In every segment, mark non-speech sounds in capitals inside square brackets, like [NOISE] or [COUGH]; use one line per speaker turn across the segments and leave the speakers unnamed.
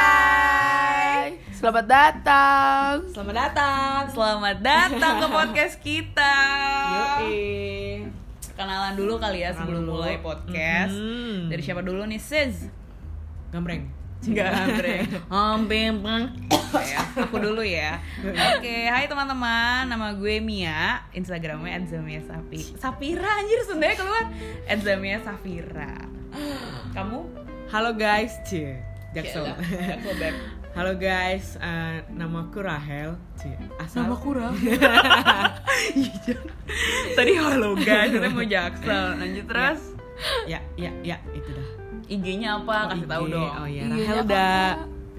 Hai. Selamat datang.
Selamat datang.
Selamat datang ke podcast kita.
Yoi.
Kenalan dulu kali ya sebelum
dulu.
mulai podcast.
Mhm.
Dari siapa dulu nih, Sis?
Gambreng.
[LAUGHS] Gandreng. Hampir ya, aku dulu ya. Oke, hai teman-teman. Nama gue Mia, Instagramnya @zamia Sapi. Sapira anjir sendiri keluar. @zamia Safira. Kamu?
Halo guys, Cie. Jackson.
Kayak udah, aku back.
[LAUGHS] Halo guys, eh, namaku Rahel. Cie. Asal [LAUGHS] Iya.
kurang.
Tadi halo guys, [LAUGHS] kita mau jaksel. Lanjut terus.
Ya, ya, ya, itu dah.
IG-nya apa? Ah, Kasih
IG.
tahu dong.
Oh
Iya,
ya, Rahel
apa?
da.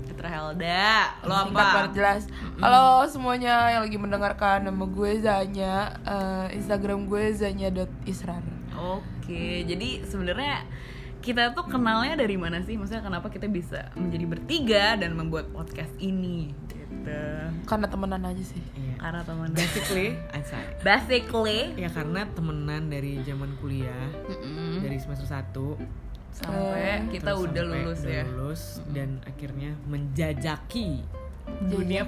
Citra Helda, lo
Singkat banget
apa?
jelas. Halo semuanya yang lagi mendengarkan nama gue Zanya, eh, Instagram gue zanya.israr.
Oke, jadi sebenarnya kita tuh kenalnya dari mana sih? Maksudnya kenapa kita bisa menjadi bertiga dan membuat podcast ini? Gitu.
Karena temenan aja sih.
Iya.
Karena [LAUGHS] teman
Basically, asal.
Basically
Ya karena temenan dari zaman kuliah,
mm-mm, Oh,
dari semester 1
sampai Hmm? kita udah lulus ya
lulus dan akhirnya menjajaki
dunia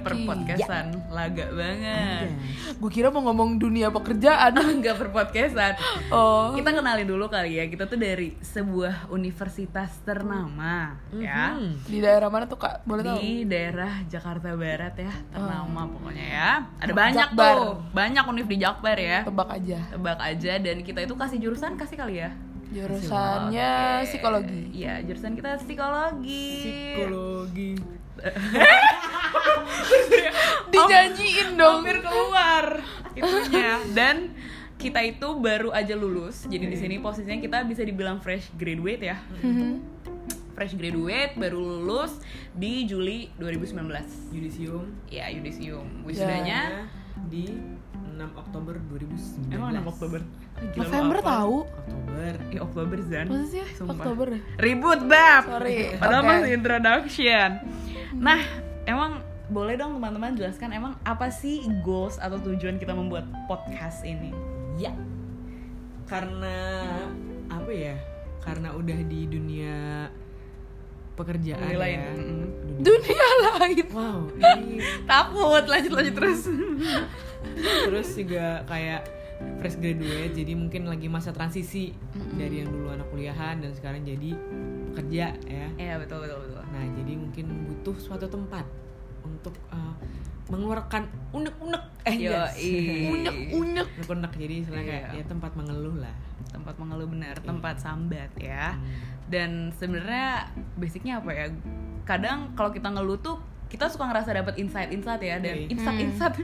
Jajaki.
perpodcastan laga banget. [LAUGHS]
Gue kira mau ngomong dunia pekerjaan.
Enggak perpodcastan.
Oh.
Kita kenalin dulu kali ya. Kita tuh dari sebuah universitas ternama ya.
Mhm.
Di daerah mana tuh kak? Boleh tahu? Oh.
di daerah Jakarta Barat ya ternama pokoknya ya ada banyak
Jakbar.
tuh banyak univ di Jakbar ya
Tebak aja.
tebak aja dan kita itu kasih jurusan kasih kali ya
Jurusannya
Oke.
psikologi.
iya jurusan kita psikologi
Psikologi.
[LAUGHS]
Dijanjiin dong. [LAUGHS]
hampir keluar itunya dan kita itu baru aja lulus jadi di sini posisinya kita bisa dibilang fresh graduate ya
Mhm.
fresh graduate baru lulus di Juli 2019
Yudisium
ya yudisium
Wisudanya
wisudanya
di 6 Oktober 2019.
Iya. emang 6 Oktober Gila, lu
November
hafal.
tahu?
Oktober.
Ya Oktober Zan
Masa sih?
Sumpah.
Oktober ya?
Ribut bab
Sorry,
Padahal
oke.
masih introduction Nah emang boleh dong teman-teman jelaskan emang apa sih goals atau tujuan kita membuat podcast ini
Ya. Karena apa ya? Karena udah di dunia pekerjaan
Dunia lain.
ya.
Mm-mm.
Dunia-
Dunia lain.
Wow. ini
Takut lanjut-lanjut terus
terus juga kayak fresh graduate jadi mungkin lagi masa transisi dari yang dulu anak kuliahan dan sekarang jadi pekerja ya.
[LAUGHS] Iya betul betul betul
Nah, jadi mungkin butuh suatu tempat untuk eh, mengeluarkan unek-unek. Eh, yes.
Yoi.
Unek-unek.
unek-unek jadi istilahnya kayak
Iya.
ya tempat mengeluh lah. Hmm,
Tempat mengeluh benar, tempat sambat ya Dan sebenarnya basicnya apa ya Kadang kalau kita ngeluh tuh kita suka ngerasa dapat insight-insight ya dan
Yoi.
insight-insight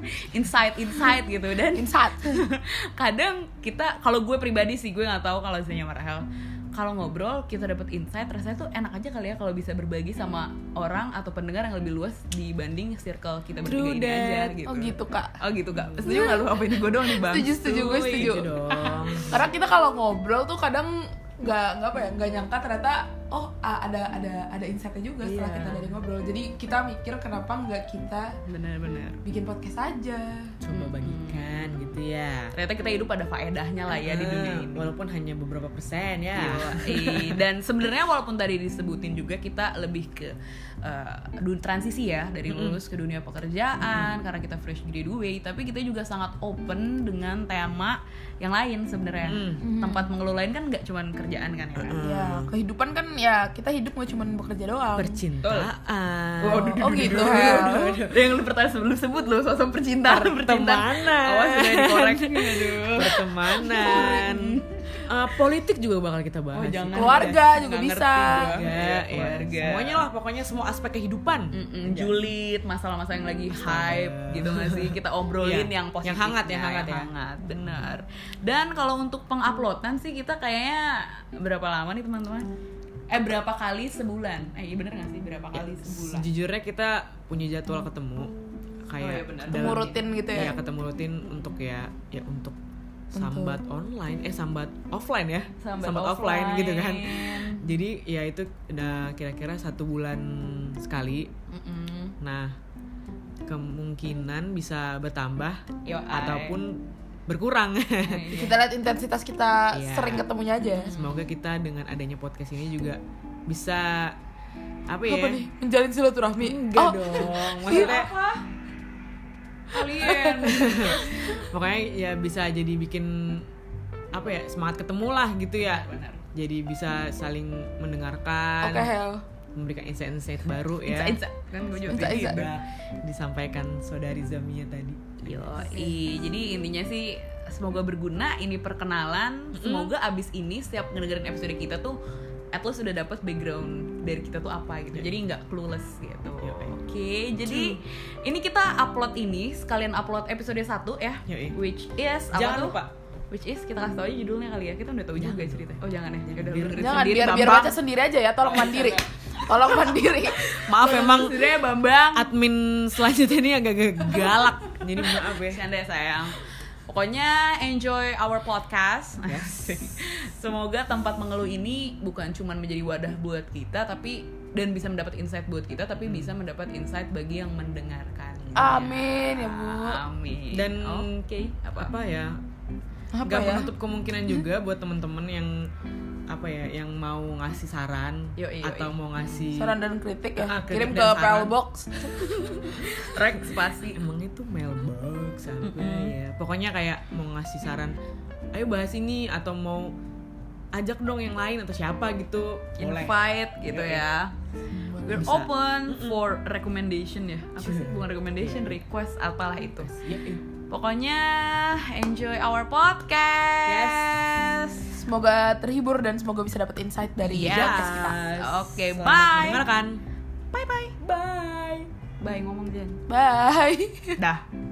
insight-insight gitu dan
Insat.
[LAUGHS] kadang kita kalau gue pribadi sih gue nggak tahu kalau misalnya sama Rahel kalau ngobrol kita dapat insight rasanya tuh enak aja kali ya kalau bisa berbagi sama orang atau pendengar yang lebih luas dibanding circle kita bertiga
True
ini aja
that.
gitu
Oh gitu kak.
oh gitu gak setuju nggak lu apa ini gue doang nih bang
Setuju setuju gue setuju.
Gitu
[LAUGHS]
dong.
Karena kita kalau ngobrol tuh kadang nggak nggak apa ya nggak nyangka ternyata oh a- ada ada ada insightnya juga setelah
Iya.
kita dari ngobrol. Jadi kita mikir kenapa nggak kita
bener-bener
bikin podcast aja.
Coba bagikan gitu ya.
ternyata kita hidup ada faedahnya lah ya di dunia
Eh,
ini Iya.
Walaupun hanya beberapa persen
Iya.
ya.
Yoi. dan sebenarnya walaupun tadi disebutin juga kita lebih ke eh, du- transisi ya dari lulus ke dunia pekerjaan karena kita fresh graduate tapi kita juga sangat open dengan tema yang lain sebenarnya
Mm.
tempat mengelola lain kan nggak cuman kerjaan kan ya kan?
Ya kehidupan kan ya kita hidup nggak cuma bekerja doang.
Percintaan.
Oh, oh gitu. Hel.
yang lu pertanyaan sebelum sebut lu sosok percintaan percintaan
Pertemanan.
awas udah dikoreksi
Pertemanan. Eh, politik juga bakal kita bahas.
Oh, jangan.
Oh,
ya.
Keluarga
Nggak
juga
ngerti
bisa.
gua.
Ya,
Iya, keluarga.
Semuanya lah pokoknya semua aspek kehidupan. Iya.
Mm-mm, julid masalah-masalah yang lagi hype gitu nggak sih kita obrolin
Mm, Iya,
yang positif
yang hangat, yang hangat ya.
benar dan kalau untuk penguploadan sih kita kayaknya berapa lama nih teman-teman eh berapa kali sebulan eh iya bener nggak sih berapa kali
Iya,
sebulan
Sejujurnya kita punya jadwal ketemu kayak
Oh, iya benar.
dalam-
Ketemu rutin gitu ya.
Iya, ketemu rutin untuk ya ya untuk sambat online eh sambat offline ya. offline. gitu kan. Jadi ya itu udah kira-kira satu bulan sekali.
Mm-mm.
Nah, kemungkinan bisa bertambah
Yo, ay.
ataupun
[LAUGHS]
berkurang.
Kita lihat intensitas kita
Iya.
sering ketemunya aja.
Semoga kita dengan adanya podcast ini juga bisa apa ya
apa nih Oh. menjalin silaturahmi
enggak dong maksudnya
apa
[LAUGHS]
kalian
pokoknya ya bisa jadi bikin apa ya semangat ketemu lah gitu ya
Benar.
jadi bisa saling mendengarkan
oke Hel
memberikan insight-insight baru ya
Insa, insa. kan gue juga
Insa, insa.
Tiba disampaikan saudari Zamia tadi Iya.
Yoi, jadi intinya sih semoga berguna ini perkenalan. Semoga abis ini setiap ngedengerin episode kita tuh at least udah dapat background dari kita tuh apa gitu.
Yoi.
Jadi nggak clueless gitu.
Yoi.
Oke, jadi ini kita upload ini sekalian upload episode 1 ya.
Yoi.
Which is apa
jangan
tuh?
lupa
Which is kita kasih tau aja judulnya kali ya. Kita udah tahu juga ceritanya. Oh, jangan ya. Udah
biar-
dengerin
jangan
sendiri,
biar biar
Bambang.
baca sendiri aja ya tolong
[LAUGHS]
mandiri tolong mandiri
maaf ya, emang
Sebenarnya Bambang
admin selanjutnya ini agak galak jadi maaf ya
Bercanda ya sayang. Pokoknya enjoy our
[LAUGHS]
podcast.
Yes.
Semoga tempat mengeluh ini bukan cuma menjadi wadah buat kita, tapi dan bisa mendapat insight buat kita, tapi bisa mendapat insight bagi yang mendengarkan.
Amin, ya, Bu.
Amin.
dan
oke
apa,
apa?
ya
apa
nggak
ya
menutup kemungkinan juga buat temen-temen yang apa ya yang mau ngasih saran
Yoi, yoi.
atau mau ngasih
saran dan kritik ya
Ah, kritik
kirim ke
dan saran.
PL Box
Rek spasi.
emang itu mailbox apa ya pokoknya kayak mau ngasih saran ayo bahas ini atau mau ajak dong yang lain atau siapa gitu boleh
Invite gitu ya. We're
Bisa.
open for recommendation ya. Apa sih?
Sure.
Bukan recommendation, request apalah itu.
Yoi.
Pokoknya enjoy our podcast.
semoga terhibur dan semoga bisa dapat insight dari
Iya.
Yes.
podcast kita
Oke,
Selamat
bye.
mendengarkan
Bye bye.
bye
Bye ngomong Jen.
bye
Dah.